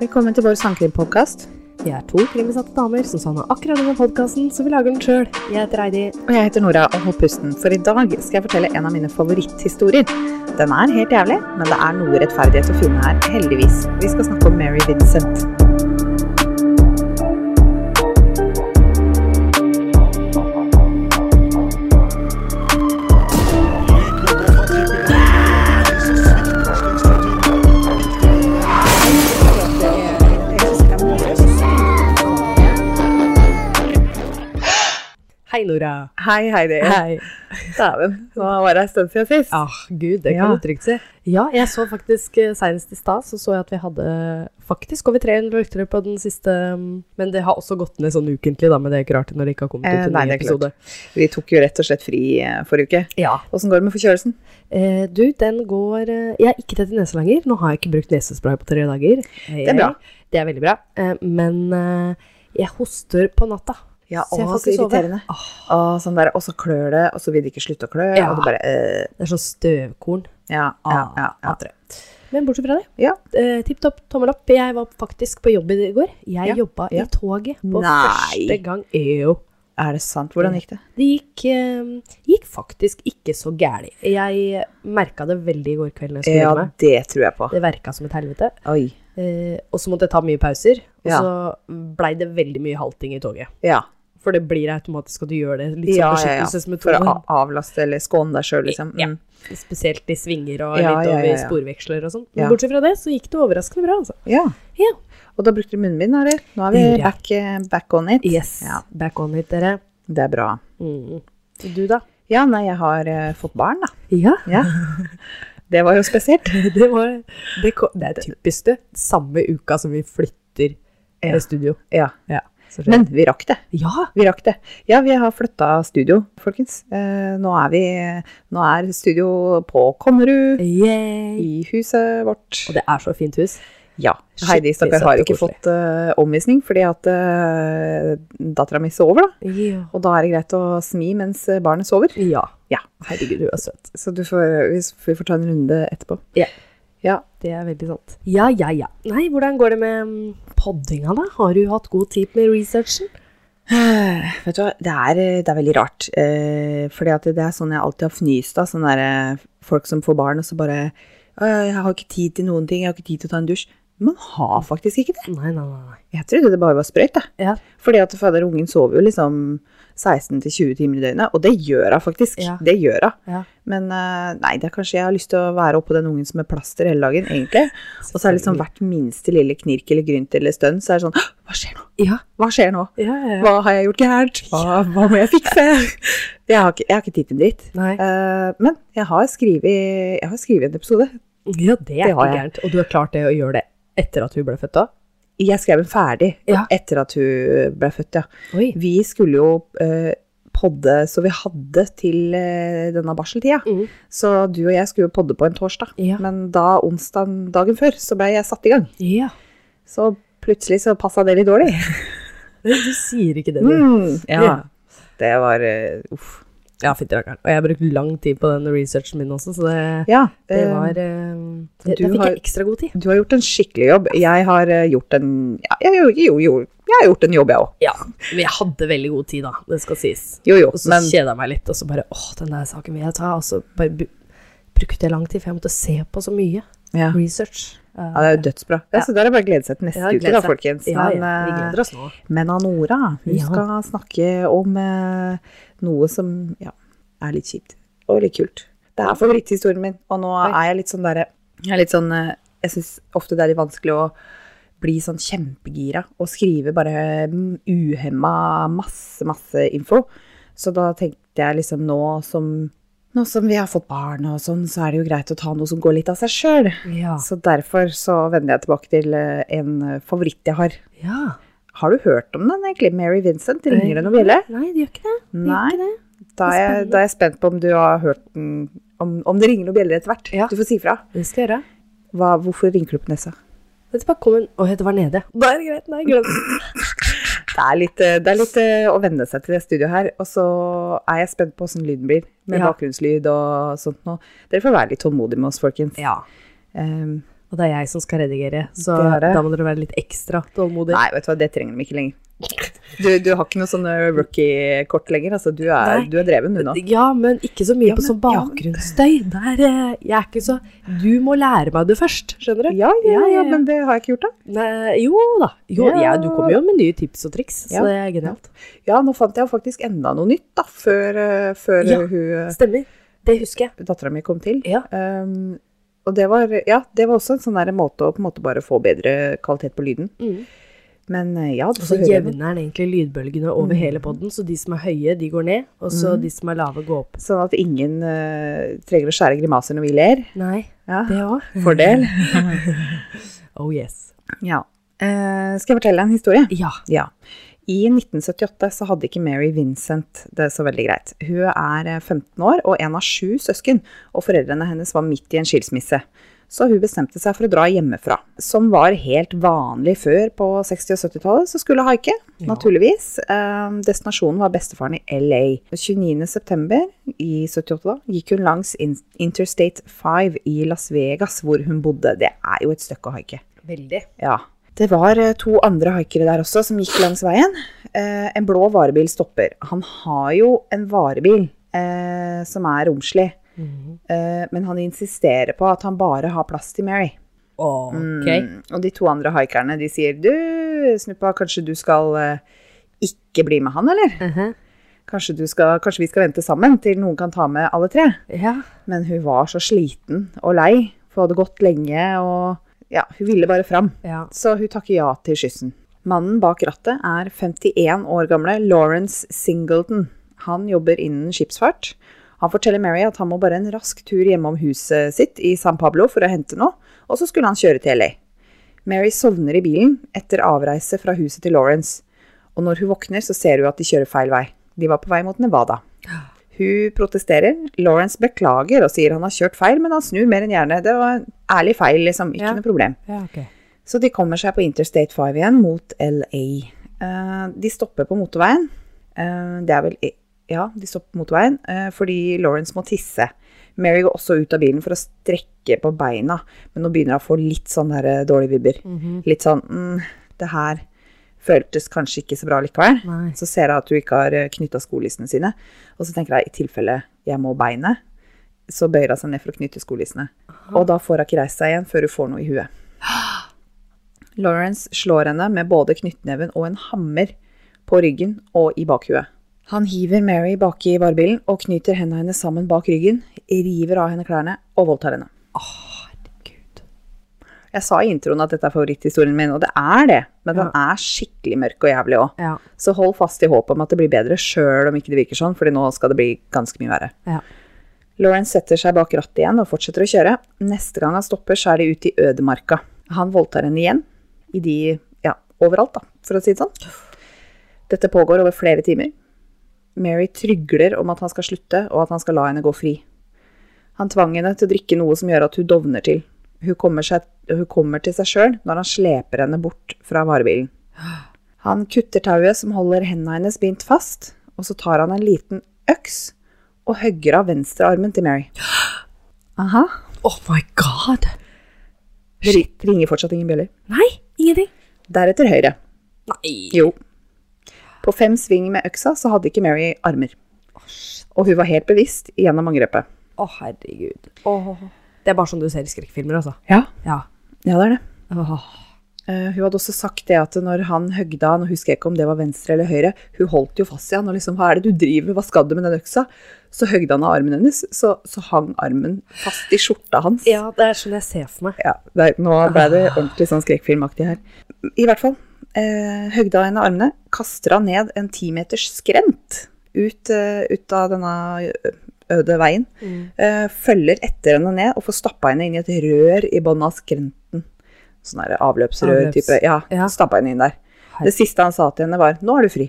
Velkommen til vår sangkrimpodkast. Vi er to krimisatte damer som savna akkurat denne podkasten, så vi lager den sjøl. Jeg heter Heidi. Og jeg heter Nora, og hold pusten, for i dag skal jeg fortelle en av mine favoritthistorier. Den er helt jævlig, men det er noe rettferdighet å finne her, heldigvis. Vi skal snakke om Mary Vincent. Hei, Nora. Hei, Heidi. Hei. Dæven, nå var det en stund siden sist. Ah, gud, det Ja. kan du trygt si. Ja, jeg så faktisk eh, senest i stad så så jeg at vi hadde faktisk over 300 lyttere på den siste mm, Men det har også gått ned sånn ukentlig, da, men det er ikke rart når det ikke har kommet Eh, ut en nei, ny det er klart. episode. Vi tok jo rett og slett fri eh, forrige uke. Ja. Åssen går det med forkjølelsen? Eh, du, den går eh, Jeg er ikke tett i nesa lenger. Nå har jeg ikke brukt nesespray på tre dager. Det er bra. Det er veldig bra. Eh, men eh, jeg hoster på natta. Ja, Så jeg å, får så ikke sove. irriterende. Og sånn der, og så klør det, og så vil det ikke slutte å klø. Ja. Og det bare eh, Det er sånn støvkorn. Ja, ja, ja. ja. Men bortsett fra det, Ja. eh, tipp topp, tommel opp. Jeg var faktisk på jobb i går. Jeg Ja, jobba ja. i toget på Nei. første gang. Jo. Er det sant? Hvordan gikk det? Det gikk, eh, gikk faktisk ikke så gæli. Jeg merka det veldig i går kveld. Når jeg skulle Ja, legge meg. det tror jeg på. Det verka som et helvete. Oi. Eh, og så måtte jeg ta mye pauser. Og Ja. så blei det veldig mye halting i toget. Ja. For det blir automatisk at du gjør det. Litt Ja, sånn ja, ja. For beskyttelsesmetode. å a- avlaste eller skåne deg sjøl, liksom. Ja. Mm. Spesielt i svinger og Ja, litt ja, over ja, ja. sporveksler og sånn. Ja. Men bortsett fra det så gikk det overraskende bra, altså. Ja. Ja. Og da brukte du munnbind, eller? Nå er Det gjorde vi jeg. back, eh, back on it. Yes. Ja, Back on it, dere. det er bra. Mm. Du, da? Ja, nei, jeg har eh, fått barn, da. Ja, Ja. Det var jo spesielt. det var Det, ko- det er typisk, det. Samme uka som vi flytter Ja. eh, studio. Ja. Så det- Men vi rakk det. Ja! Vi rakk det. Ja, vi har flytta studio, folkens. Eh, nå er vi Nå er studio på Konnerud, Yay. i huset vårt. Og det er så fint hus. Ja. Skikkelig Heidi, stakkar, har søtt og ikke koselig. fått eh, omvisning fordi at uh, dattera mi sover, da. Ja. Og da er det greit å smi mens eh, barnet sover. ja. Ja. Herregud, hun er søt. Så du får, vi s- vi får ta en runde etterpå. Ja. Ja, Det er veldig sant. Ja, ja, ja. Nei, hvordan går det med mm, poddinga, da? Har du hatt god tid med researchen? Eh, Vet du hva, det er, eh, det er veldig rart. Eh, fordi at det er sånn jeg alltid har fnyst av. Sånne der, eh, folk som får barn og så bare «Å, 'Jeg har ikke tid til noen ting. Jeg har ikke tid til å ta en dusj.' Man har faktisk ikke det. Nei, nei, nei. nei. Jeg trodde det bare var sprøyt. jeg. Ja. Fordi at fader, ungen sover jo liksom 16-20 timer i døgnet. Og det gjør hun faktisk. Ja. Det gjør hun. Ja. Men eh, nei, det er kanskje jeg har lyst til å være oppå den ungen som er plaster hele dagen, egentlig. Og så er det liksom hvert minste lille knirk eller grynt eller stønn, så er det sånn «Hå, Hva skjer nå? Ja, Hva skjer nå? ja, ja. ja. Hva har jeg gjort gærent? Hva, hva må jeg fikse? Jeg har ikke, jeg har ikke tid til en dritt. Nei. Eh, men jeg har skrevet jeg har skrevet en episode. Ja, det er Det har ikke jeg. gærent. Og du har klart det å gjøre det etter at hun ble født, da? Jeg skrev den ferdig Ja. etter at hun ble født, ja. Oi. Vi skulle jo eh, podde så vi hadde til eh, denne barseltida. Mm. Så du og jeg skulle jo podde på en torsdag. Ja. Men da onsdag dagen før så ble jeg satt i gang. Ja. Så plutselig så passa det litt dårlig. Men Du sier ikke det, du. Mm, Ja. Det var eh, uff. Ja, fytti rakkeren. Og jeg har brukt lang tid på den researchen min også, så det, Ja, det eh, var eh, det, du Der fikk har- jeg ekstra god tid. Du har gjort en skikkelig jobb. Jeg har eh, gjort en ja, jeg, jo, jo, jo, jeg har gjort en jobb, jeg òg. Ja, men jeg hadde veldig god tid, da. Det skal sies. Jo, jo. Og så Men kjeda jeg meg litt, og så bare åh, den der saken vil jeg ta. Og så bare bu brukte jeg lang tid, for jeg måtte se på så mye ja. research. Eh, ja, det er jo dødsbra. Ja, så da er det bare å glede seg til neste uke, da, folkens. Ja, ja, Men, vi eh, gleder oss nå. men Anora, hun Ja. skal snakke om eh, noe som ja, er litt kjipt. Og litt kult. Det er favoritthistorien min, og nå Oi. er jeg litt sånn derre Jeg er litt sånn eh, Jeg syns ofte det er litt vanskelig å bli sånn kjempegira og skrive bare mm, uhemma masse, masse info. Så da tenkte jeg liksom nå som nå som vi har fått barn og sånn, så er det jo greit å ta noe som går litt av seg sjøl. Ja. Så derfor så vender jeg tilbake til eh, en eh, favoritt jeg har. ja. Har du hørt om den egentlig? Mary Vincent? Ringer det noen bjelle? Nei, det gjør ikke det. det, gjør Nei. ikke det. Da er, jeg, da er jeg spent på om du har hørt den Om, om det ringer noen bjeller etter hvert. Ja. Du får si fra. det skal jeg gjøre. Hva, hvorfor rynker du på nesa? Dette bare kom en Å, det var nede. Da er det greit. Nei, glem det. Det er litt, eh, det er litt eh, å venne seg til det studioet her. Og så er jeg spent på åssen lyden blir, med Ja. bakgrunnslyd og sånt noe. Dere får være litt tålmodige med oss, folkens. Ja. Ehm, Og Og det er jeg som skal redigere, så Det er det. da må dere være litt ekstra tålmodige. Nei, vet du hva, det trenger de ikke lenger. Du, du har ikke noe sånne rookie-kort lenger. Altså, du, er, Nei. du er dreven, du nå. Ja, men ikke så mye Ja, på men- sånn bakgrunnsstøy. Der, eh, jeg er ikke så Du må lære meg det først, skjønner du? Ja, ja, Ja, ja, ja, ja. men det har jeg ikke gjort, da. Nei, jo da. Jo, Ja. ja, du kommer jo med nye tips og triks, Ja. så det er genialt. Ja, nå fant jeg faktisk enda noe nytt, da, før, eh, før Ja. hun Stemmer. Det husker jeg. dattera mi kom til. Ja. Um, og det var, ja, det var også en sånn der måte å på en måte bare få bedre kvalitet på lyden. Mm. Altså Men eh, ja, du Og får så høre den. jevner den egentlig lydbølgene over hele podden, så de som er høye, de går ned, og så Mm. de som er lave, går opp. Sånn at ingen eh, trenger å skjære grimaser når vi ler. Nei, Ja, det òg. fordel. Oh yes. Ja. Eh, skal jeg fortelle deg en historie? Ja. Ja. I 1978 så hadde ikke Mary Vincent det så veldig greit. Hun er eh, 15 år og en av sju søsken, og foreldrene hennes var midt i en skilsmisse. Så hun bestemte seg for å dra hjemmefra. Som var helt vanlig før på 60- og 70-tallet, så skulle hun haike, Ja. naturligvis. Eh, Destinasjonen var bestefaren i LA. 29.9. i 78 da, gikk hun langs in- Interstate 5 i Las Vegas, hvor hun bodde. Det er jo et stykke å haike. Veldig. Ja. Det var eh, to andre haikere der også som gikk langs veien. Eh, en blå varebil stopper. Han har jo en varebil eh, som er romslig, eh, men han insisterer på at han bare har plass til Mary. Ok. Mm, og de to andre haikerne de sier du, Snuppa, kanskje du skal eh, ikke bli med han, eller? Mhm. Kanskje, du skal, kanskje vi skal vente sammen til noen kan ta med alle tre? Ja. Men hun var så sliten og lei, for hun hadde gått lenge, og ja, hun ville bare fram. ja. Så hun takker ja til skyssen. Mannen bak rattet er 51 år gamle Lawrence Singleton. Han jobber innen skipsfart. Han forteller Mary at han må bare en rask tur hjemom huset sitt i San Pablo for å hente noe, og så skulle han kjøre til LA. Mary sovner i bilen etter avreise fra huset til Lawrence, og når hun våkner, så ser hun at de kjører feil vei. De var på vei mot Nevada. Hun protesterer. Lawrence beklager og sier han har kjørt feil, men han snur mer enn gjerne. Det var en ærlig feil, liksom. Ikke Ja. noe problem. ja ok. Så de kommer seg på Interstate 5 igjen mot LA. Eh, de stopper på motorveien. Eh, det er vel Ja, de stopper på motorveien eh, fordi Lawrence må tisse. Mary går også ut av bilen for å strekke på beina, men nå begynner hun å få litt sånn der, eh, dårlige vibber. Litt sånn mm, Det her føltes kanskje ikke så bra likevel. Nei. Så ser hun at hun ikke har knytta skolissene sine, og så tenker hun i tilfelle jeg må beinet, så bøyer hun seg ned for å knytte skolissene. Og da får hun ikke reist seg igjen før hun får noe i huet. Lawrence slår henne med både knyttneven og en hammer på ryggen og i bakhuet. Han hiver Mary baki varebilen og knyter hendene hennes sammen bak ryggen, river av henne klærne og voldtar henne. Gud. Jeg sa i introen at dette er favoritthistorien min, og det er det, men den er skikkelig mørk og jævlig òg. Ja. Så hold fast i håpet om at det blir bedre, sjøl om ikke det virker sånn, fordi nå skal det bli ganske mye verre. Ja. Lawrence setter seg bak rattet igjen og fortsetter å kjøre. Neste gang han stopper, så er de ute i ødemarka. Han voldtar henne igjen, i de ja, overalt, da, for å si det sånn. Dette pågår over flere timer. Mary trygler om at han skal slutte, og at han skal la henne gå fri. Han tvang henne til å drikke noe som gjør at hun dovner til. Hun kommer, seg, hun kommer til seg sjøl når han sleper henne bort fra varebilen. Han kutter tauet som holder hendene hennes bindt fast, og så tar han en liten øks og hogger av venstrearmen til Mary. Aha. Oh my god. Det ri- ringer fortsatt ingen bjeller. Nei, ingenting. Deretter høyre. Nei. Jo. På fem sving med øksa så hadde ikke Mary armer. Og hun var helt bevisst gjennom angrepet. Å, herregud. Åh. Det er bare sånn du ser i skrekkfilmer, altså. Ja, Ja. ja det er det. Åh. Eh, hun hadde også sagt det at når han høgda han, og husker jeg ikke om det var venstre eller høyre, hun holdt jo fast i han, og liksom, hva er det du driver med, hva skal du med den øksa? Så høgda han av armen hennes, så, så hang armen fast i skjorta hans. Ja, det er sånn jeg ser for meg. Ja, det er, nå ble det ordentlig sånn skrekkfilmaktig her. I hvert fall, eh, høgda henne armene, kaster han ned en 10 meters skrent ut, eh, ut av denne eh, øde veien, Mm. eh, følger etter henne ned og får stappa henne inn i et rør i bånn av skrenten. Sånn der avløpsrør Avløps- type. Ja, Ja. stappa henne inn der. Herre- Det siste han sa til henne var, nå er du fri.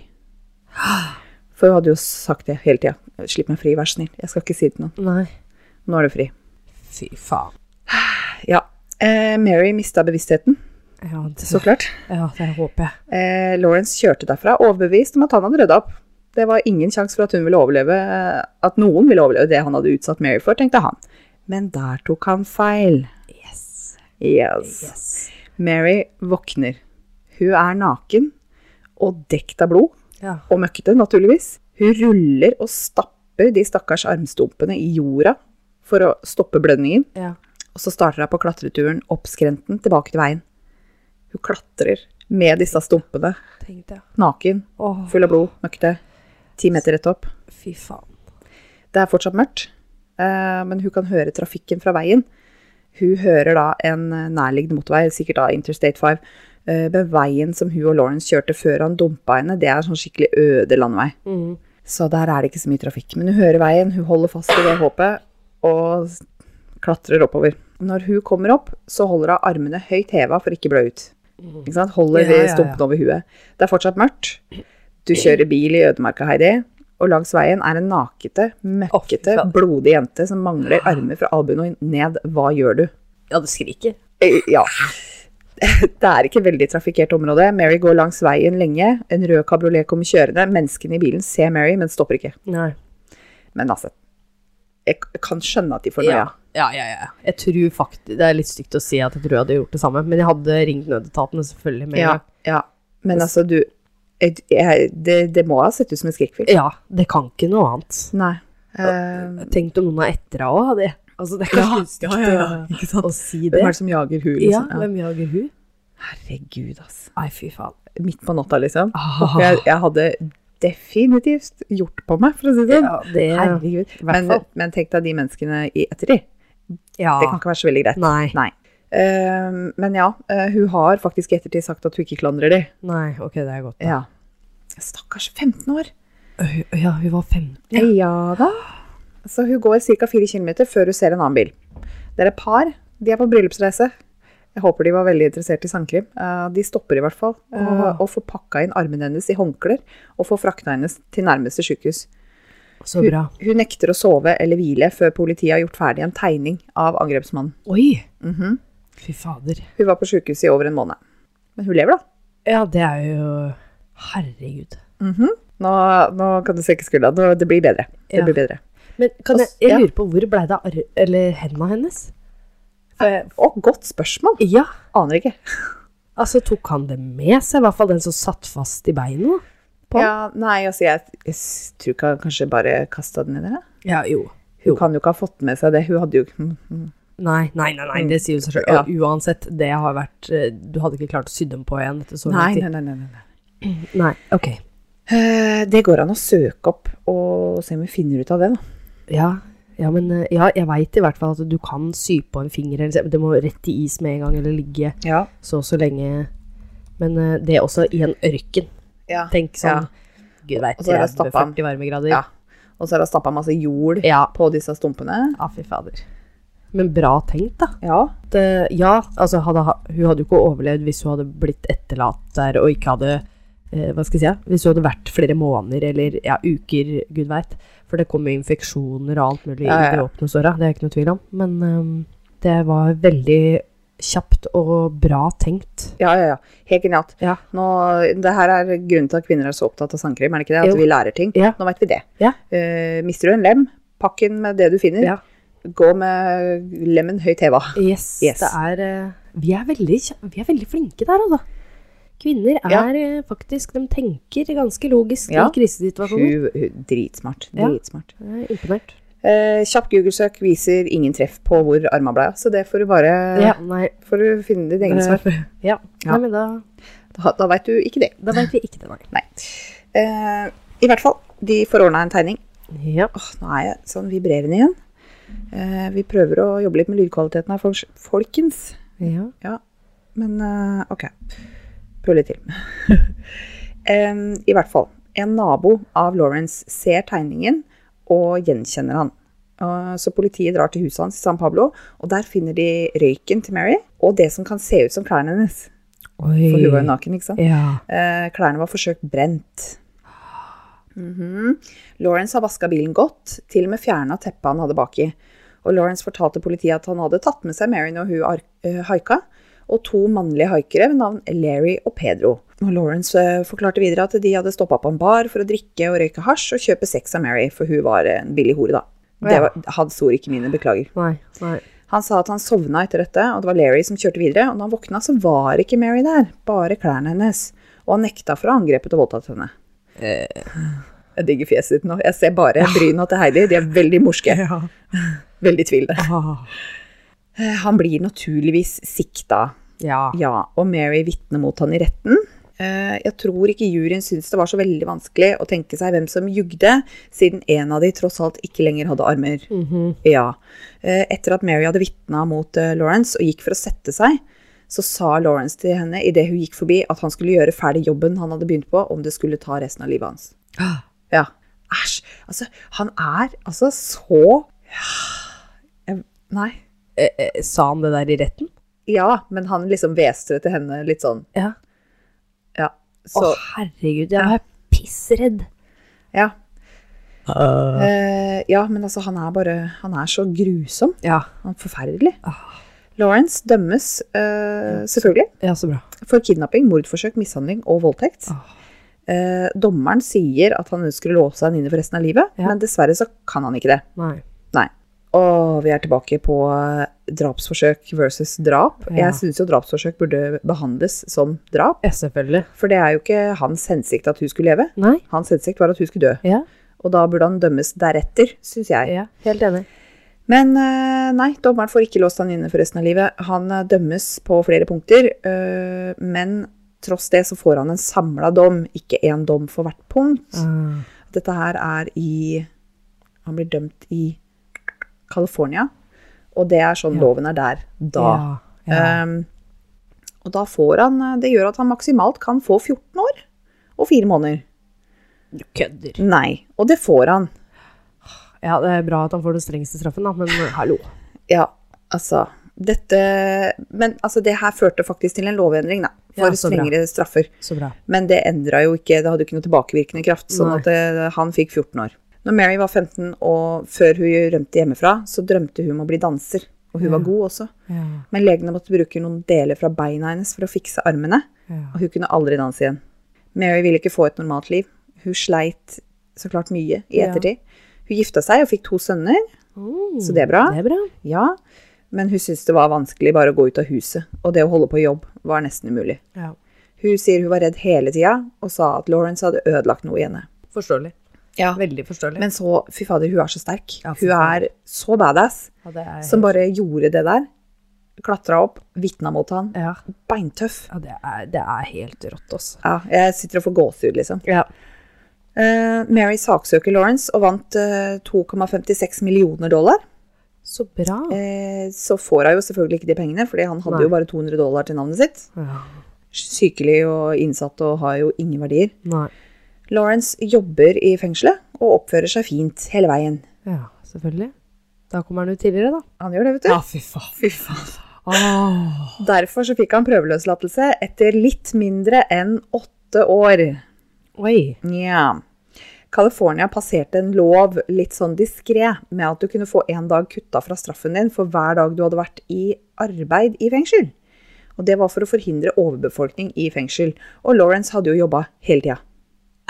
For hun hadde jo sagt det hele tida. Slipp meg fri, vær så snill. Jeg skal ikke si det til noen. Nei. Nå er du fri. Fy faen. Ja. Eh, Mary mista bevisstheten, Ja, det, så klart. ja, det håper jeg. Eh, Lawrence kjørte derfra overbevist om at han hadde rydda opp. Det var ingen sjanse for at hun ville overleve, eh, at noen ville overleve det han hadde utsatt Mary for, tenkte han. Men der tok han feil. Yes. Yes. Yes. Mary våkner. Hun er naken og dekt av blod, Ja. og møkkete naturligvis. Hun ruller og stapper de stakkars armstumpene i jorda for å stoppe blødningen, ja. og så starter hun på klatreturen opp skrenten tilbake til veien. Hun klatrer med disse stumpene, Tenkte jeg. naken, Åh, full av blod, møkkete, ti meter rett opp. fy faen. Det er fortsatt mørkt, eh, men hun kan høre trafikken fra veien. Hun hører da en eh, nærliggende motorvei, sikkert da Interstate 5, eh, men veien som hun og Lawrence kjørte før han dumpa henne, det er sånn skikkelig øde landevei. Mhm. Så der er det ikke så mye trafikk. Men hun hører veien, hun holder fast i det håpet og s- klatrer oppover. Når hun kommer opp, så holder hun armene høyt heva for ikke blø ut. Ikke sant? Holder Mm. Ja, ja, ja. stumpene over huet. Det er fortsatt mørkt. Du kjører bil i ødemarka, Heidi, og langs veien er en nakete, møkkete, faen. blodig jente som mangler armer fra albuen og ned. Hva gjør du? Ja, du skriker. Eh, Ja. Det er ikke veldig trafikkert område. Mary går langs veien lenge. En rød kabriolet kommer kjørende. Menneskene i bilen ser Mary, men stopper ikke. Nei. Men altså, jeg k- kan skjønne at de får noia. Ja. Ja, ja, ja. Jeg tror faktisk, Det er litt stygt å si at jeg tror jeg hadde gjort det samme, men jeg hadde ringt nødetatene selvfølgelig med en Ja, gang. ja. Men altså, du jeg, jeg, det, det må ha sett ut som en skrekkfilm. Ja, det kan ikke noe annet. Nei. Eh, Tenk om noen er etter deg òg, hadde jeg. Altså, det er Ja, kanskje litt stygt ja, ja, ja. å- å si det. hvem er det som jager hun, Ja, liksom? Ja. hvem jager hun? Herregud, altså. Nei, fy faen. Midt på natta, liksom. Ah. Jeg, jeg hadde definitivt gjort på meg, for å si det sånn. Ja, det Herregud. hvert Men, fall. men tenk deg de menneskene i ettertid. Ja. Det kan ikke være så veldig greit. Nei. Eh, men ja, eh, hun har faktisk i ettertid sagt at hun ikke klandrer de. Nei, ok, det er godt. Ja. Stakkars 15 år. Hun- Eh, Ja, hun var 15. Eh, Ja, da. Så hun går ca. 4 km før hun ser en annen bil. Det er et par. De er på bryllupsreise. Jeg håper de var veldig interessert i sandkrim. Eh, de stopper i hvert fall. eh, Åh. Og får pakka inn armen hennes i håndklær og får frakta henne til nærmeste sykehus. Så bra. Hun nekter å sove eller hvile før politiet har gjort ferdig en tegning av angrepsmannen. Oi! Fy fader. Hun var på sykehuset i over en måned. Men hun lever, da. Ja, det er jo Herregud. Nå, nå kan du senke skuldra. Nå- Det blir bedre. Det Ja. blir bedre. Men kan jeg, Ass- jeg ja. lurer på hvor blei det av arr- eller henda hennes? For jeg, Å, godt spørsmål. ja, Aner ikke. altså tok han det med seg? I hvert fall den som satt fast i beina? på? Ja, nei, altså, jeg, jeg s- tror ikke han kanskje bare kasta den i det. Ja, jo. Hun Jo. kan jo ikke ha fått med seg det. Hun hadde jo ikke Nei, nei, nei, nei det sier jo seg selv. Mm. Ja. Uansett, det har vært eh, Du hadde ikke klart å sy dem på igjen etter så Nei, lang tid. nei, nei. nei, nei. Nei, ok. Eh, Det går an å søke opp og se om vi finner ut av det, da. Ja, ja men eh, ja, jeg veit i hvert fall at du kan sy på en finger, eller se- men det må rett i is med en gang, eller ligge Ja. så og så lenge. Men eh, det er også i en ørken. ja. Tenk sånn Gud veit, Og så er det 30-40 stappa. varmegrader. Ja. Og så har hun stappa masse jord ja. på disse stumpene. Ja, fy fader. Men bra tenkt, da. Ja. At, eh, ja, altså hadde, ha- hun hadde jo ikke overlevd hvis hun hadde blitt etterlatt der og ikke hadde eh, Hva skal jeg si? ja, Hvis hun hadde vært flere måneder eller ja, uker, gud veit. For det kommer jo infeksjoner og alt mulig Ja, ja, i de ja. åpne såra, det er jeg ikke noe tvil om. Men ehm, det var veldig kjapt og bra tenkt. Ja, ja, ja. Helt genialt. Ja. Nå, det her er grunnen til at kvinner er så opptatt av sandkrim, er det ikke det? At Jo. vi lærer ting. Ja. Nå veit vi det. Ja. Eh, mister du en lem, pakk den med det du finner. Ja. Gå med lemmen høyt heva. Yes, Yes. det er eh, vi er, veldig, kja- vi er veldig flinke der, altså. Kvinner er Ja. eh, faktisk De tenker ganske logisk Ja. i krisesituasjoner. Hun- hun- Dritsmart. Ja. Dritsmart. Jeg er imponert. Eh, kjapp Google-søk viser ingen treff på hvor arma ble, av, så det får du bare Ja, nei, får du finne ditt eget svar. Eh, ja. Ja. nei men da Da, da veit du ikke det. Da veit vi ikke det, nei. Nei. Eh, I hvert fall, de får ordna en tegning. Ja. Åh, nå er jeg sånn vibrerende igjen. Eh, vi prøver å jobbe litt med lydkvaliteten her, folks- folkens. ja. Ja, men eh, ok. Pulle til. Em, I hvert fall. En nabo av Lawrence ser tegningen og gjenkjenner han. Eh, så politiet drar til huset hans i San Pablo, og der finner de røyken til Mary og det som kan se ut som klærne hennes. Oi. For hun var jo naken, ikke sant? Ja. Eh, klærne var forsøkt brent. Mhm. Lawrence har vaska bilen godt, til og med fjerna teppet han hadde baki. Og Lawrence fortalte politiet at han hadde tatt med seg Mary når hun ar- eh, haika, og to mannlige haikere ved navn Larry og Pedro. Og Lawrence eh, forklarte videre at de hadde stoppa på en bar for å drikke og røyke hasj og kjøpe sex av Mary, for hun var en billig hore, da. Å, Det ja. var, hadde sor ikke mine, beklager. Nei, nei. Han sa at han sovna etter dette, og det var Larry som kjørte videre. Og da han våkna, så var ikke Mary der, bare klærne hennes. Og han nekta for å ha angrepet og voldtatt henne. Jeg digger fjeset ditt nå. Jeg ser bare bryna til Heidi. De er veldig morske. Ja. Veldig tvilende. Eh, Han blir naturligvis sikta. ja. Ja, og Mary vitner mot han i retten. Eh, Jeg tror ikke juryen syntes det var så veldig vanskelig å tenke seg hvem som jugde, siden en av de tross alt ikke lenger hadde armer. Mhm. Ja. Eh, Etter at Mary hadde vitna mot eh, Lawrence og gikk for å sette seg, så sa Lawrence til henne idet hun gikk forbi, at han skulle gjøre ferdig jobben han hadde begynt på, om det skulle ta resten av livet hans. Eh, Ja. Æsj. Altså, han er altså så Jeg- Nei. Eh, eh, Sa han det der i retten? Ja, men han liksom hvestret til henne litt sånn. Ja. Ja. Å, Så, herregud, jeg er pissredd. ja. Eh, ja, men altså, han er bare Han er så grusom. Ja. Han er forferdelig. Ah. Lawrence dømmes, eh, selvfølgelig, ja, så bra. for kidnapping, mordforsøk, mishandling og voldtekt. Eh, dommeren sier at han ønsker å låse han inne for resten av livet, Ja. men dessverre så kan han ikke det. Nei. Nei. Og vi er tilbake på eh, drapsforsøk versus drap. Ja. Jeg syns jo drapsforsøk burde behandles som drap, Ja, selvfølgelig. for det er jo ikke hans hensikt at hun skulle leve. Nei. Hans hensikt var at hun skulle dø. Ja. Og da burde han dømmes deretter, syns jeg. ja. Helt enig. Men eh, nei, dommeren får ikke låst han inne for resten av livet. Han eh, dømmes på flere punkter, eh, men tross det så får han en samla dom, ikke én dom for hvert punkt. Ah. Dette her er i Han blir dømt i California, og det er sånn Ja. loven er der da. Ja. Eh, ja. Um, og da får han eh, Det gjør at han maksimalt kan få 14 år og 4 måneder. Du kødder. Nei. Og det får han. Ja, det er bra at han får den strengeste straffen, da, men eh, hallo. Ja, altså dette, Men altså, det her førte faktisk til en lovendring da, for Ja, så bra. strengere straffer. Så bra. Men det endra jo ikke, det hadde jo ikke noe tilbakevirkende kraft. Sånn Nei. at eh, han fikk 14 år. Når Mary var 15, og før hun rømte hjemmefra, så drømte hun om å bli danser. Og hun var god også. Ja. Men legene måtte bruke noen deler fra beina hennes for å fikse armene. Ja. Og hun kunne aldri danse igjen. Mary ville ikke få et normalt liv. Hun sleit så klart mye i Ja. ettertid. Hun gifta seg og fikk to sønner, Mm, så det er bra. Det er bra. Ja, men hun syntes det var vanskelig bare å gå ut av huset, og det å holde på jobb var nesten umulig. Ja. Hun sier hun var redd hele tida, og sa at Lawrence hadde ødelagt noe i henne. Forståelig. Ja. Veldig forståelig. Men så, fy fader, hun er så sterk. Ja, fy Hun er så badass, ja, det er, som bare gjorde det der. Klatra opp, vitna mot han. ja. Beintøff. ja, det er, det er helt rått, altså. Ja, jeg sitter og får gåsehud, liksom. Ja. Eh, Mary saksøker Lawrence og vant eh, 2,56 millioner dollar. Så bra. Eh, så får hun jo selvfølgelig ikke de pengene, fordi han hadde Nei. jo bare 200 dollar til navnet sitt. Ja. sykelig og innsatt og har jo ingen verdier. Nei. Lawrence jobber i fengselet og oppfører seg fint hele veien. Ja, selvfølgelig. Da kommer han ut tidligere, da. Han gjør det, vet du. fy faen. Fy faen. Derfor så fikk han prøveløslatelse etter litt mindre enn åtte år. Oi. Nja. California passerte en lov litt sånn diskré med at du kunne få en dag kutta fra straffen din for hver dag du hadde vært i arbeid i fengsel. Og det var for å forhindre overbefolkning i fengsel. Og Lawrence hadde jo jobba hele tida.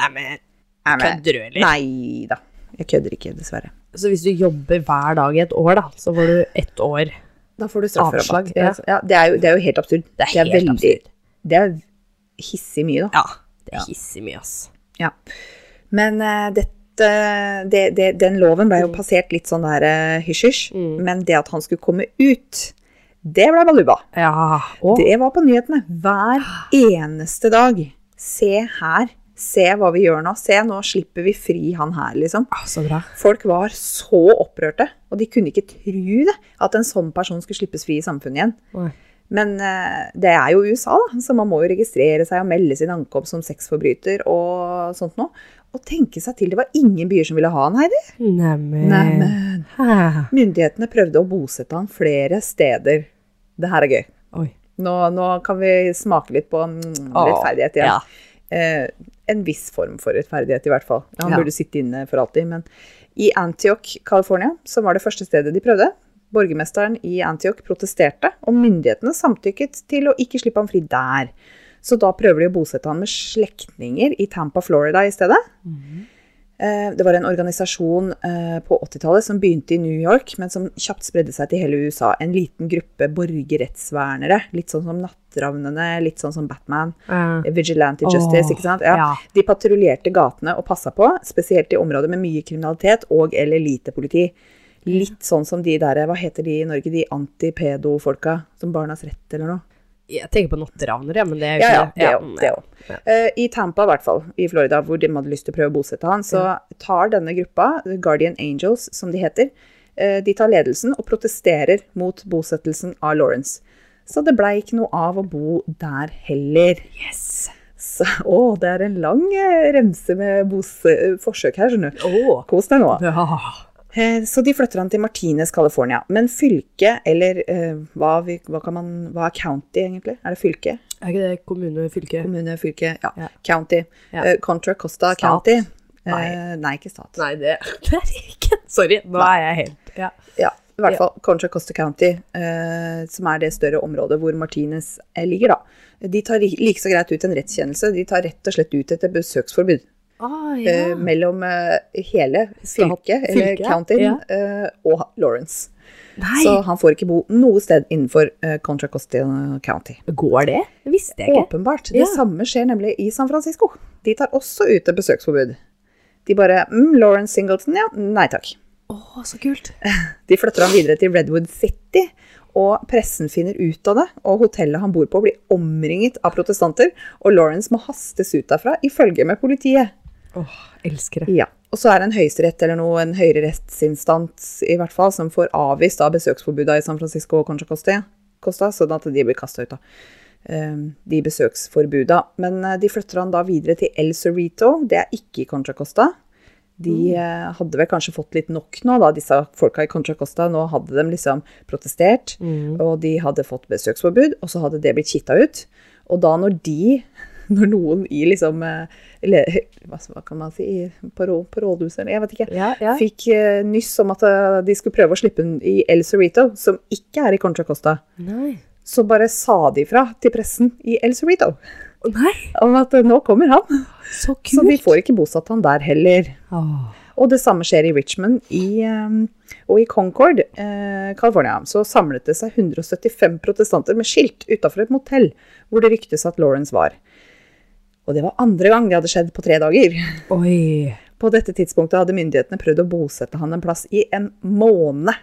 Neimen, Nei, kødder du, eller? Nei da. Jeg kødder ikke, dessverre. Så hvis du jobber hver dag i et år, da, så får du ett år. Da får du strafferabatt. Avslag, ja. Ja, det, er jo, det er jo helt absurd. Det er helt absurd. Det er hissig mye, da. Ja. Det er hissig mye, ass. Ja. Men eh, dette, det, det, den loven Mm. ble jo passert litt sånn der eh, hysj-hysj, men det at han skulle komme ut, det ble baluba. Ja. Å, Det var på nyhetene hver eneste dag. Se her. Se hva vi gjør nå. Se, nå slipper vi fri han her, liksom. ah, så bra. Folk var så opprørte, og de kunne ikke tro det, at en sånn person skulle slippes fri i samfunnet igjen. Nei. Men eh, det er jo USA, da, så man må jo registrere seg og melde sin ankomst som sexforbryter og sånt noe. Og tenke seg til, det var ingen byer som ville ha han, Heidi. Neimen. Neimen. Hæ. Myndighetene prøvde å bosette han flere steder. Det her er gøy. Oi. Nå, nå kan vi smake litt på mm, rettferdighet igjen. Ja. Eh, en viss form for rettferdighet, i hvert fall. Han Ja. burde sitte inne for alltid. Men i Antioch, California, som var det første stedet de prøvde, borgermesteren i Antioch protesterte, og myndighetene samtykket til å ikke slippe ham fri der. Så da prøver de å bosette han med slektninger i Tampa, Florida i stedet. Eh, Det var en organisasjon eh, på 80-tallet som begynte i New York, men som kjapt spredde seg til hele USA. En liten gruppe borgerrettsvernere, litt sånn som Natteravnene, litt sånn som Batman. Eh, Vigilante justice, Åh, ikke sant? Ja. De patruljerte gatene og passa på, spesielt i områder med mye kriminalitet og eller lite politi. Litt sånn som de der, hva heter de i Norge, de antipedo-folka, som Barnas Rett eller noe. Jeg tenker på natteravnere, men det er jo Ja, ja, ikke det òg. Det òg. ja. Eh, I Tampa, i hvert fall, i Florida, hvor de hadde lyst til å prøve å bosette han, så tar denne gruppa, Guardian Angels, som de heter, eh, de tar ledelsen og protesterer mot bosettelsen av Lawrence. Så det blei ikke noe av å bo der heller. Yes! Så, å, det er en lang eh, remse med bose, forsøk her, skjønner du. Åh. Kos deg nå. Ja. Eh, Så de flytter han til Martinez, California. Men fylket, eller eh, hva, vi, hva, kan man, hva er county egentlig? Er det fylke? Er ikke det kommune, fylke? Kommune, fylke, ja. Ja. County. Ja. Eh, Contra Costa Stat. County. Eh, Nei. nei, ikke stat. Nei, det, det er ikke. Sorry, nå er jeg helt ja. Ja, i hvert Ja. fall Contra Costa County, eh, som er det større området hvor Martinez eh, ligger, da. De tar li- like så greit ut en rettskjennelse. De tar rett og slett ut et besøksforbud Ah, eh, Ehm, mellom eh, hele Stat- fylket, eller fylket, countyen, ja. eh, og Lawrence. Nei, Så han får ikke bo noe sted innenfor eh, Contra Costa County. går det? Det visste jeg ikke. Åpenbart. Ja. Det samme skjer nemlig i San Francisco. De tar også ut et besøksforbud. De bare mm, Lawrence Singleton, ja. Nei takk. Å, så kult. De flytter ham videre til Redwood City, og pressen finner ut av det. Og hotellet han bor på, blir omringet av protestanter, og Lawrence må hastes ut derfra, ifølge med politiet. Åh, elsker det. Ja. Og så er det en høyesterett eller noe, en høyere rettsinstans i hvert fall, som får avvist av besøksforbudet i San Francisco og Concha Costa, Costa sånn at de blir kasta ut av eh, de besøksforbuda. Men eh, de flytter han da videre til El Cerrito, det er ikke i Concha Costa. De eh, hadde vel kanskje fått litt nok nå, da, disse folka i Concha Costa. Nå hadde de liksom protestert, Mm. og de hadde fått besøksforbud, og så hadde det blitt kitta ut. Og da når de, når noen i liksom eh, le, hva, hva kan man si, i- på, rå- på rådhuset, eller jeg vet ikke, Ja, ja. fikk eh, nyss om at eh, de skulle prøve å slippe den i El Cerrito, som ikke er i Concha Costa, Nei. så bare sa de fra til pressen i El Cerrito Å, nei, om at eh, nå kommer han, så kult. så de får ikke bosatt han der heller. Åh. Og det samme skjer i Richmond i, ehm, og i Concord, eh, California. Så samlet det seg 175 protestanter med skilt utafor et motell hvor det ryktes at Lawrence var. Og det var andre gang det hadde skjedd på tre dager. Oi. På dette tidspunktet hadde myndighetene prøvd å bosette han en plass i en måned.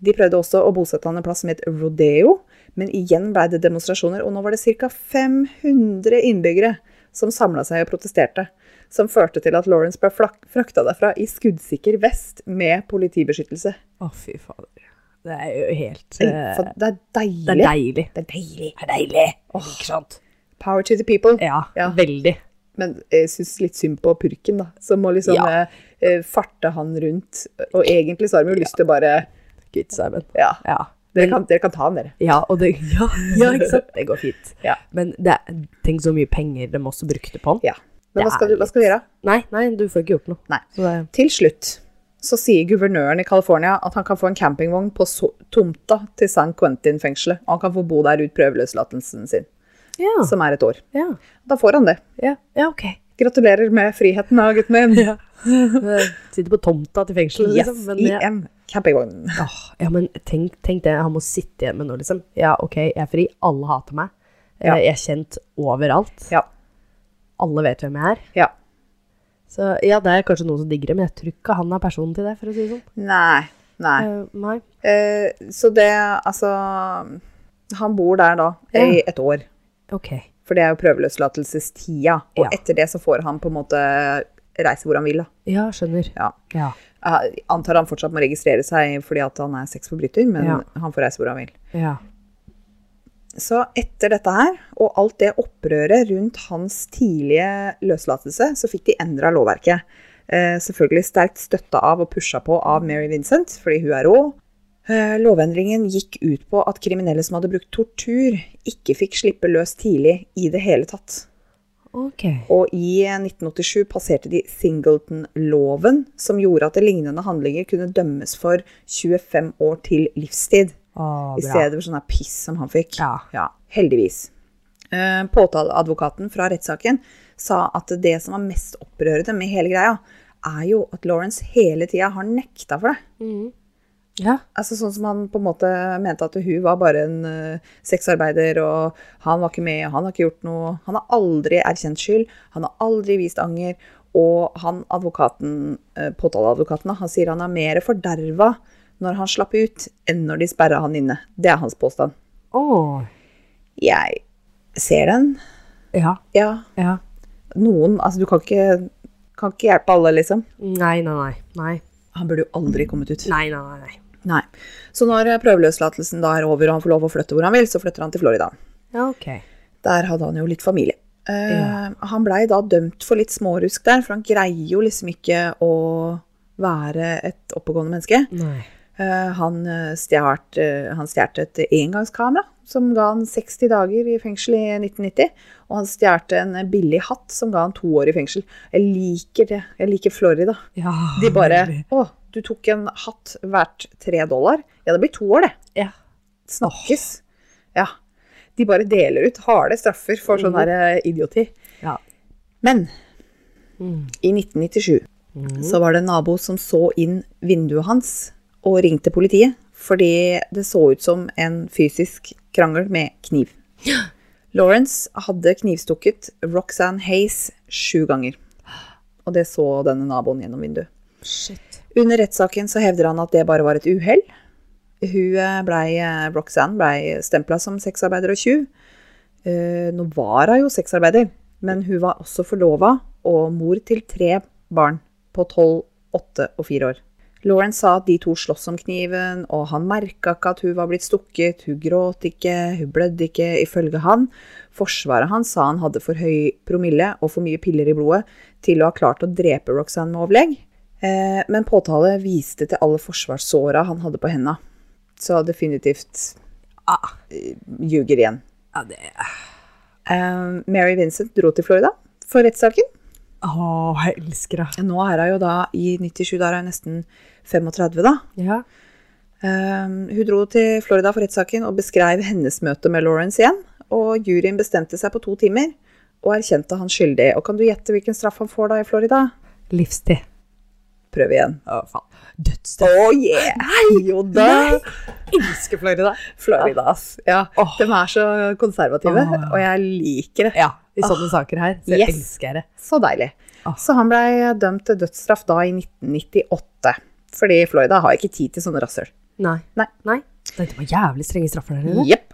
De prøvde også å bosette han en plass som het Rodeo, men igjen blei det demonstrasjoner, og nå var det ca. 500 innbyggere som samla seg og protesterte. Som førte til at Lawrence ble flak- frakta derfra i skuddsikker vest med politibeskyttelse. Å, fy fader. Det er jo helt eh, For det er deilig. Det er deilig. Det er deilig. Det er deilig. Ikke sant? Power to the people. Ja, Ja. veldig. Men jeg syns litt synd på purken, da. Som må liksom Ja. eh, eh, farte han rundt. Og egentlig så har vi jo lyst til å bare Kvitt seg med. Ja. Ja. Dere kan, dere kan ta han, dere. Ja, og det, ja, ja, ikke sant? Det går fint. Ja. Men det, er- tenk så mye penger de også brukte på den. Ja. Men Det hva skal, er du, hva skal du gjøre? Nei, nei, du får ikke gjort noe. Nei. Så det, Til slutt så sier guvernøren i California at han kan få en campingvogn på so tomta til San Quentin-fengselet, og han kan få bo der ut prøveløslatelsen sin, ja, som er et år. ja, Da får han det. Ah. ja, ja, ok. Gratulerer med friheten, da, gutten min. Ja. Det Eh, Sitter på tomta til fengselet, Yes, liksom. Men, i ja. en campingvogn. Åh, ja, men tenk, tenk det, han må sitte igjen med noe, liksom. Ja, ok, jeg er fri, alle hater meg. Eh, Ja. Jeg er kjent overalt. Ja. Alle vet hvem jeg er. ja. Så ja, det er kanskje noen som digger det, men jeg tror ikke han er personen til det, for å si det sånn. Nei. Nei. Eh, nei. Eh, så det, altså Han bor der da i et år. Ok. For det er jo prøveløslatelsestida. Og Ja. etter det så får han på en måte reise hvor han vil, da. Ja, skjønner. Ja. Ja, Jeg antar han fortsatt må registrere seg fordi at han er sexforbryter, men Ja. han får reise hvor han vil. ja. Så etter dette her, og alt det opprøret rundt hans tidlige løslatelse, så fikk de endra lovverket. Eh, selvfølgelig sterkt støtta av og pusha på av Mary Vincent, fordi hun er rå. Eh, lovendringen gikk ut på at kriminelle som hadde brukt tortur, ikke fikk slippe løs tidlig i det hele tatt. Ok. Og i 1987 passerte de Singleton-loven, som gjorde at lignende handlinger kunne dømmes for 25 år til livstid, Å, i stedet for sånn her piss som han fikk. Ja. Heldigvis. Eh, Påtaleadvokaten fra rettssaken sa at det som var mest opprørende med hele greia, er jo at Lawrence hele tida har nekta for det. Ja. Altså Sånn som han på en måte mente at hun var bare en eh, sexarbeider, og han var ikke med, og han har ikke gjort noe. Han har aldri erkjent skyld, han har aldri vist anger. Og han advokaten, eh, påtaleadvokaten, da, han sier han er mer forderva når han slapp ut, enn når de sperra han inne. Det er hans påstand. Åh. Jeg ser den. Ja. Ja, ja. noen Altså, du kan ikke, kan ikke hjelpe alle, liksom. Nei, nei, nei. Nei, Han burde jo aldri kommet ut. nei, nei. nei. Nei. Så når prøveløslatelsen da er over, og han får lov å flytte hvor han vil, så flytter han til Florida. Ja, ok. Der hadde han jo litt familie. Eh, Han blei da dømt for litt smårusk der, for han greier jo liksom ikke å være et oppegående menneske. Nei. Eh, Han eh, stjert, eh, han stjert et engangskamera som ga han 60 dager i fengsel i 1990. Og han stjerte en eh, billig hatt som ga han to år i fengsel. Jeg liker det. Jeg liker Florida. Ja. De bare Å, du tok en hatt verdt tre dollar? Ja, det blir to år, det. Ja. Snakkes. Ja. De bare deler ut harde straffer for sånn her eh, idioti. Mhm. Ja. Men Mm. Mhm. i 1997 så var det en nabo som så inn vinduet hans og ringte politiet, fordi det så ut som en fysisk krangel med kniv. Lawrence hadde knivstukket Roxanne Hayes sju ganger, og det så denne naboen gjennom vinduet. Shit. Under rettssaken så hevder han at det bare var et uhell. Hun eh, blei, eh, Roxanne blei stempla som sexarbeider og tjuv. Eh, Nå var hun jo sexarbeider, men hun var også forlova og mor til tre barn på 12, 8 og 4 år. Lawrence sa at de to sloss om kniven, og han merka ikke at hun var blitt stukket, hun gråt ikke, hun blødde ikke, ifølge han. Forsvaret hans sa han hadde for høy promille og for mye piller i blodet til å ha klart å drepe Roxanne med overlegg. Eh, men påtale viste til alle forsvarssåra han hadde på henda, så definitivt Ah. eh, ljuger igjen. Ja, det Eh, Mary Vincent dro til Florida for rettssaken. Åh, jeg elsker det. Nå er hun jo da i 97, da er hun nesten 35, da. Ja. Eh, hun dro til Florida for rettssaken og beskrev hennes møte med Lawrence igjen. Og juryen bestemte seg på to timer og erkjente han skyldig. Og kan du gjette hvilken straff han får da i Florida? Livstid. Prøv igjen. Å, faen. Dødsstraff. Oh yeah! Jo da! Elsker Florida. Florida, ass. Ja. Åh. De er så konservative, Åh. og jeg liker det. Ja, i sånne saker her. Så yes. elsker jeg det. Så deilig. Åh. Så han blei dømt til dødsstraff da i 1998. Fordi Florida har ikke tid til sånne rasshøl. Nei. Nei. Nei. Det var jævlig strenge straffer der nede. Jepp.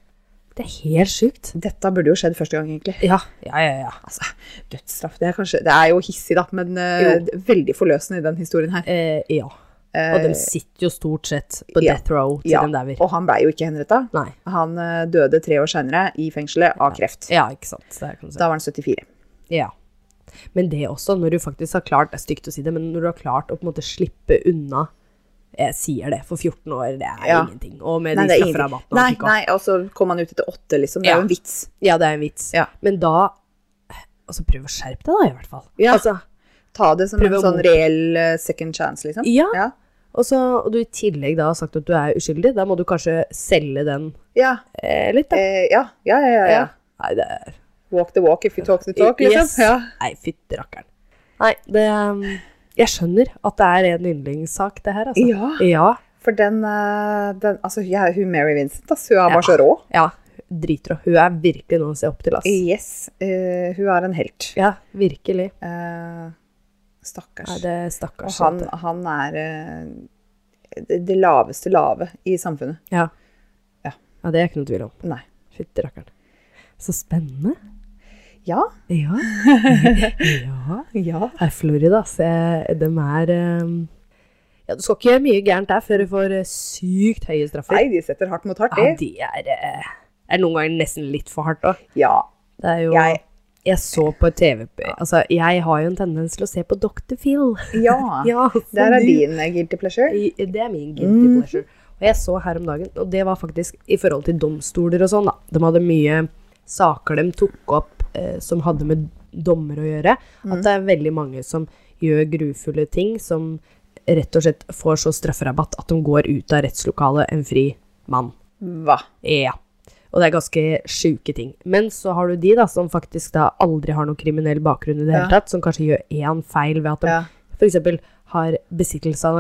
Det er helt sjukt. Dette burde jo skjedd første gang, egentlig. Ja, ja, ja. ja. Altså, dødsstraff, det er kanskje Det er jo hissig, da, men eh, Jo. det er veldig forløsende i den historien her. Eh, ja. Og de sitter jo stort sett på ja. death row til Ja, dem der. og han blei jo ikke henretta. Nei. Han eh, døde tre år seinere i fengselet av kreft. Ja, ikke sant. Det kan du si. Da var han 74. Ja. Men det også, når du faktisk har klart, det er stygt å si det, men når du har klart å på en måte slippe unna Jeg sier det, for 14 år, det er Ja. ingenting. Og med Nei, de det er ingenting. strafferabattene Nei, han fikk også. nei, og så kom han ut etter åtte, liksom. Det Ja. er jo en vits. Ja, det er en vits. Ja. Men da Altså, prøv å skjerpe deg, da, i hvert fall. Ja. Altså, Ta det som Prøve en å sånn mot- reell eh, second chance, liksom. Ja. Ja. og, så, og du i tillegg da har sagt at du er uskyldig, da må du kanskje selge den Ja. eh, litt, da. Eh, ja. Ja, ja, ja, ja. Nei, det er Walk the walk if you talk the talk, liksom. Yes. Ja. Nei, fytti rakkeren. Nei, det um, Jeg skjønner at det er en yndlingssak, det her, altså. Ja. Ja. For den, eh, den Altså, ja, hun Mary Vincent, ass, hun er bare så rå. ja Driter og Hun er virkelig noe å se opp til, ass. Yes. eh, hun er en helt. Ja, virkelig. Eh, stakkars. Nei, det er Og stakkars. han, jente. han er eh, det, det laveste lave i samfunnet. ja. Ja. ja, det er ikke noe tvil om. Nei. Fytti rakkeren. Så spennende. Ja. Ja. ja. Ja. Her i Florida, ass. Jeg- De er um, Ja, du skal ikke gjøre mye gærent der før du får eh, sykt høye straffer. Nei, de setter hardt mot hardt, Ja, de. de er, eh, er noen ganger nesten litt for hardt òg. Ja. Det er jo Jeg- jeg, så på TV Altså, jeg har jo en tendens til å se på Dr. Phil. ja. Ja, så Der er du- din eh, guilty pleasure. I- Det er min guilty pleasure. Og jeg så her om dagen, og det var faktisk i forhold til domstoler og sånn, da. De hadde mye saker de tok opp eh, som hadde med dommer å gjøre. At det er veldig mange som gjør grufulle ting som rett og slett får så strafferabatt at de går ut av rettslokalet en fri mann. Hva? Ja. Og det er ganske sjuke ting. Men så har du de da, som faktisk da aldri har noen kriminell bakgrunn i det hele Ja. tatt, som kanskje gjør én feil ved at de Ja. f.eks. har besittelse av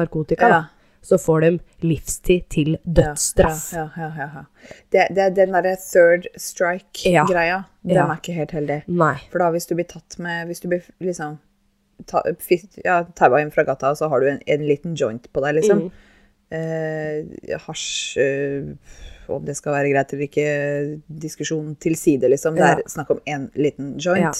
Ja. narkotika. Da. Så får de livstid til dødsstraff. Ja, ja, ja, ja, ja. Det, det, den derre third strike-greia, den Ja. er ikke helt heldig. Nei. For da hvis du blir tatt med Hvis du blir liksom ta, fis- ja, taua inn fra gata, og så har du en, en liten joint på deg, liksom. Mm. Eh, hasj eh, Om det skal være greit eller ikke, diskusjon til side, liksom. Det Ja. er snakk om én liten joint. Ja.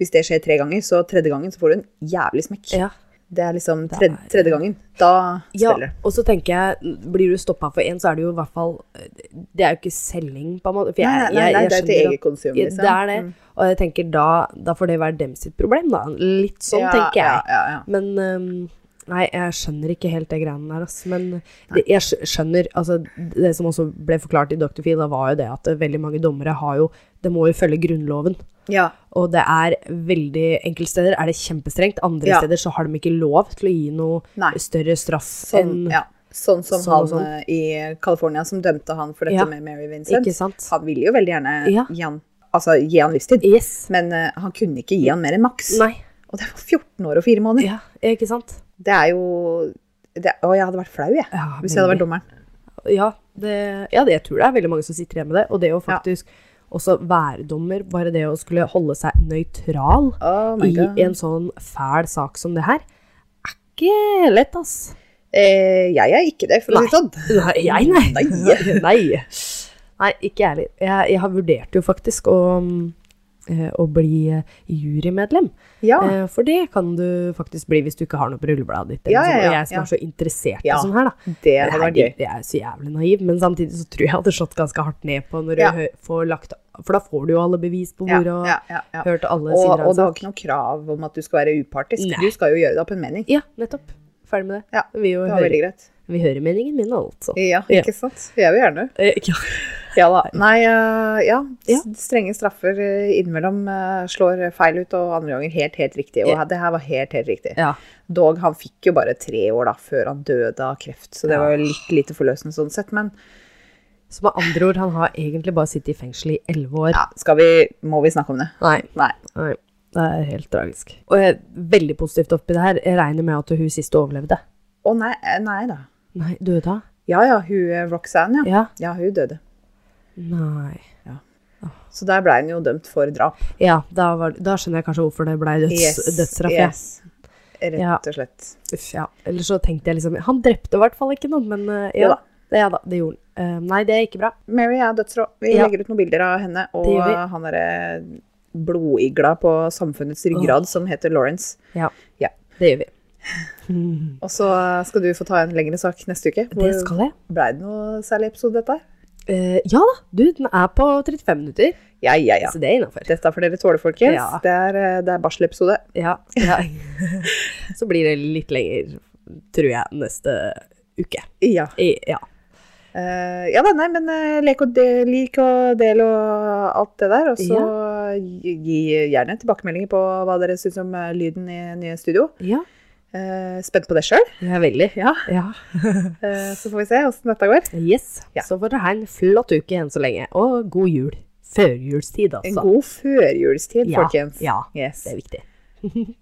Hvis det skjer tre ganger, så tredje gangen så får du en jævlig smekk. Ja. Det er liksom tredje, tredje gangen. Da Ja, spiller det. og så tenker jeg, blir du stoppa for én, så er det jo i hvert fall Det er jo ikke selging, på en måte. For jeg, Nei, nei, nei, det jeg, jeg er til skjønner eget at- konsum, Ja, liksom. Det er det. Mm. Og jeg tenker da, da får det være dem sitt problem, da. Litt sånn Ja, tenker jeg. ja, ja, ja. Men øhm, Nei, jeg skjønner ikke helt det greiene der, ass. Men det, jeg skj- skjønner Altså, det som også ble forklart i Dr. Phil, da var jo det at eh, veldig mange dommere har jo Det må jo følge Grunnloven. Ja. Og det er veldig Enkelte steder er det kjempestrengt, andre Ja. steder så har de ikke lov til å gi noe Nei. større straff Sånn, enn ja. sånn som Sånn og han eh, i California som dømte han for dette Ja. med Mary Vincent. Ikke sant? Han ville jo veldig gjerne Ja. gi, han, altså, gi han livstid, Yes. men eh, han kunne ikke gi han mer enn maks. Nei. Og det var 14 år og 4 måneder. Ja, ikke sant? Det er jo det, Å, jeg hadde vært flau, jeg. Ja, hvis jeg hadde vært dommeren. Ja, det, ja det, jeg tror det er veldig mange som sitter igjen med det. Og det å faktisk også være dommer, bare det å skulle holde seg nøytral Oh my i God. en sånn fæl sak som det her, er ikke lett, ass. Eh, jeg er ikke det, for å si det sånn. Nei, jeg, nei. Nei. nei. Nei, ikke jeg heller. Jeg, jeg har vurdert jo faktisk å, mm, eh, å bli eh, jurymedlem. Ja. Eh, For det kan du faktisk bli hvis du ikke har noe på rullebladet ditt. eller Ja, noe ja, sånt, Og ja, jeg som ja. er så interessert Ja. i sånn her, da. Det Det hadde er, vært gøy. jeg er så jævlig naiv, men samtidig så tror jeg jeg hadde slått ganske hardt ned på når Ja. du hø- får lagt For da får du jo alle bevis på Ja, bordet og ja, ja, ja. hørt alle Og, og sider av en du har sak. ikke noe krav om at du skal være upartisk. Nei. Du skal jo gjøre det opp en mening. Ja, nettopp. Ferdig med det. Ja, vi, jo Det var hører, veldig greit. vi hører meningen min, altså. Ja, Ja. ikke sant. Jeg vil gjerne. Eh, Ja. Ja da. Nei, eh, ja. Ja. S- Strenge straffer eh, innimellom eh, slår feil ut, og andre ganger helt, helt riktig. Og Ja. det her var helt, helt riktig. ja. Dog, han fikk jo bare tre år da, før han døde av kreft, så det Ja. var jo litt lite forløsende sånn sett. Men Så med andre ord, han har egentlig bare sittet i fengsel i elleve år. ja, skal vi, må vi snakke om det? Nei. Nei. Nei. Det er helt tragisk. Og jeg, veldig positivt oppi det her, jeg regner med at hun siste overlevde. Å nei, eh, nei da. Nei, døde hun? Ja ja, hun eh, Roxanne, ja. Ja. Ja, hun døde. Nei. Så der ble han jo dømt for drap. Ja, da, var, da skjønner jeg kanskje hvorfor det ble døds, dødsstraff. ja. yes. Rett Ja. og slett. Uff, ja. Eller så tenkte jeg liksom Han drepte i hvert fall ikke noen, men eh, Jo ja, da. det, ja da, det gjorde han. Eh, nei, det er ikke bra. Mary er dødsrå. Vi Ja. legger ut noen bilder av henne, og Det gjør vi. eh, han derre blodigla på samfunnets ryggrad som heter Lawrence. Ja, Ja. det gjør vi. Og så eh, skal du få ta en lengre sak neste uke. Det skal jeg. Blei det noe særlig episode, dette? her? Eh, ja da, du, den er på 35 minutter, Ja, ja, ja. så det er innafor. Dette er for dere tåler, folkens. Ja. Det er, eh, det er barselepisode. Ja, ja. så blir det litt lenger, tror jeg, neste uke. Ja. I, ja. Eh, ja da, nei, men eh, lek og del, lik og del og alt det der. Og så gi, gi gjerne tilbakemeldinger på hva dere syns om eh, lyden i nye studio. ja. Eh, spent på det sjøl. Jeg er veldig. Ja. Ja. Eh, så får vi se åssen dette går. Yes. Ja. Så får dere ha en flott uke enn så lenge. Og god jul. Førjulstid, En altså. god førjulstid, Ja, folkens. ja. Yes. Det er viktig.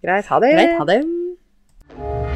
Greit, ha det. Greit, ha det.